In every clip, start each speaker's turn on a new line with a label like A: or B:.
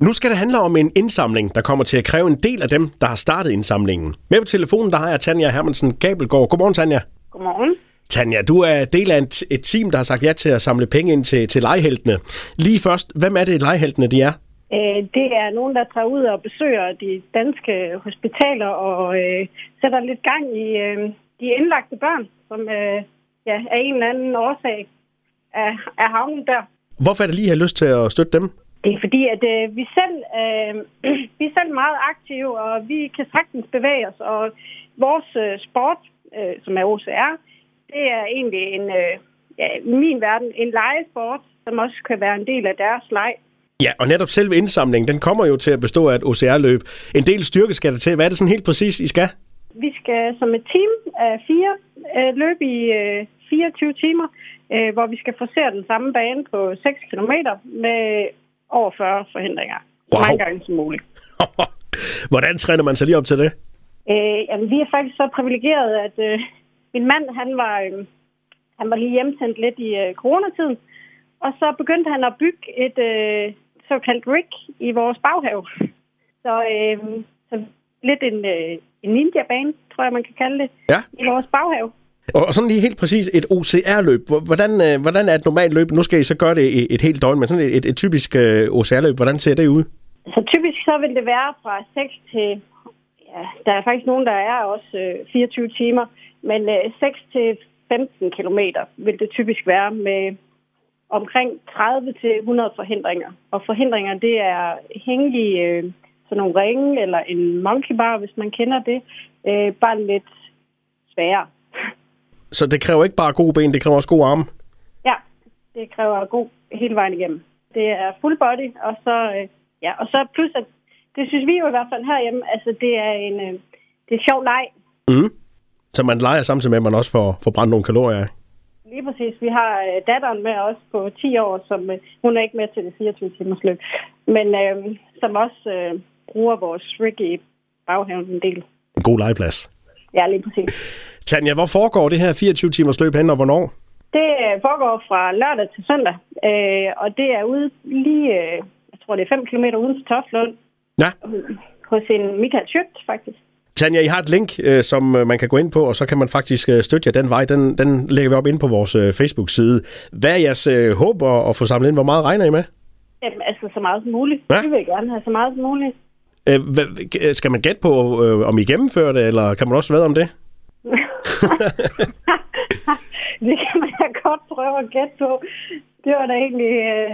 A: Nu skal det handle om en indsamling, der kommer til at kræve en del af dem, der har startet indsamlingen. Med på telefonen, der har jeg Tanja Hermansen Gabelgaard. Godmorgen, Tanja.
B: Godmorgen.
A: Tanja, du er del af et, et team, der har sagt ja til at samle penge ind til, til legeheltene. Lige først, hvem er det legeheltene, de er?
B: Øh, Det er nogen, der tager ud og besøger de danske hospitaler og øh, sætter lidt gang i øh, de indlagte børn, som øh, ja, af en eller anden årsag er, er havnet der.
A: Hvorfor er det lige, I har lyst til at støtte dem?
B: Det er fordi, at øh, vi, selv, øh, vi er selv meget aktive, og vi kan sagtens bevæge os. Og vores øh, sport, øh, som er OCR, det er egentlig en, øh, ja, i min verden en legesport, som også kan være en del af deres leg.
A: Ja, og netop selve indsamlingen, den kommer jo til at bestå af et OCR-løb. En del styrke skal der til. Hvad er det sådan helt præcis, I skal?
B: Vi skal som et team af fire øh, løbe i øh, 24 timer, øh, hvor vi skal forsere den samme bane på 6 km med over 40 forhindringer. Så
A: Wow.
B: mange gange som muligt.
A: Hvordan træner man sig lige op til det?
B: Øh, jamen, vi er faktisk så privilegerede, at øh, min mand han var, øh, han var lige hjemsendt lidt i øh, coronatiden, og så begyndte han at bygge et øh, såkaldt rig i vores baghave. Så, øh, så lidt en, øh, en ninja-bane, tror jeg, man kan kalde det,
A: Ja.
B: i vores baghave.
A: Og og sådan lige helt præcis et OCR-løb. Hvor- Hvordan, øh, hvordan er et normalt løb? Nu skal I så gøre det i et helt døgn, men sådan et, et, et typisk øh, OCR-løb, hvordan ser det ud?
B: Så typisk så vil det være fra 6 til... Ja, der er faktisk nogen, der er også øh, 24 timer, men øh, 6 til 15 kilometer vil det typisk være med omkring 30 til 100 forhindringer. Og forhindringer, det er hænge i øh, sådan nogle ringe eller en monkey bar, hvis man kender det. Øh, bare lidt sværere.
A: Så det kræver ikke bare gode ben, det kræver også gode arme.
B: Ja, det kræver god hele vejen igennem. Det er full body, og så, øh, ja, og så plus, at det synes vi jo i hvert fald herhjemme, altså det er en, øh, det er en sjov leg.
A: Så man leger samtidig med, at man også får, får brændt nogle kalorier. af.
B: Lige præcis, vi har øh, datteren med os på 10 år, som øh, hun er ikke med til det 24 timers løb, men øh, som også øh, bruger vores Ricky baghaven en del.
A: En god legeplads.
B: Ja, lige præcis.
A: Tanja, hvor foregår det her 24-timers løb hen, og hvornår?
B: Det øh, foregår fra lørdag til søndag, øh, og det er ude lige, øh, jeg tror det er 5 km uden for Toftlund,
A: Ja.
B: hos en Michael Schødt, faktisk.
A: Tanja, I har et link, øh, som øh, man kan gå ind på, og så kan man faktisk øh, støtte jer den vej. Den, den lægger vi op ind på vores øh, Facebook-side. Hvad er jeres øh, håb at, at få samlet ind? Hvor meget regner I med?
B: Jamen, altså så meget som muligt.
A: Hva?
B: Vi vil gerne have så meget som muligt.
A: Øh, hvad, øh, skal man gætte på, øh, om I gennemfører det, eller kan man også være om det?
B: det kan man da godt prøve at gætte på. Det var da egentlig øh,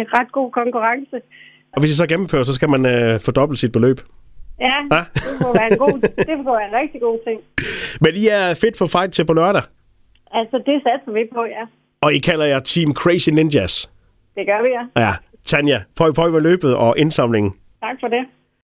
B: en ret god konkurrence.
A: Og hvis I så gennemfører, så skal man øh, fordoble sit beløb.
B: Ja,
A: Hva?
B: det må være en god, det må være en rigtig god ting.
A: Men I er fedt for fight til på lørdag,
B: Altså, det satser vi på, ja.
A: og I kalder jer Team Crazy Ninjas.
B: Det gør vi, ja.
A: Ja, Tanja, prøv, prøv med løbet og indsamlingen.
B: Tak for det.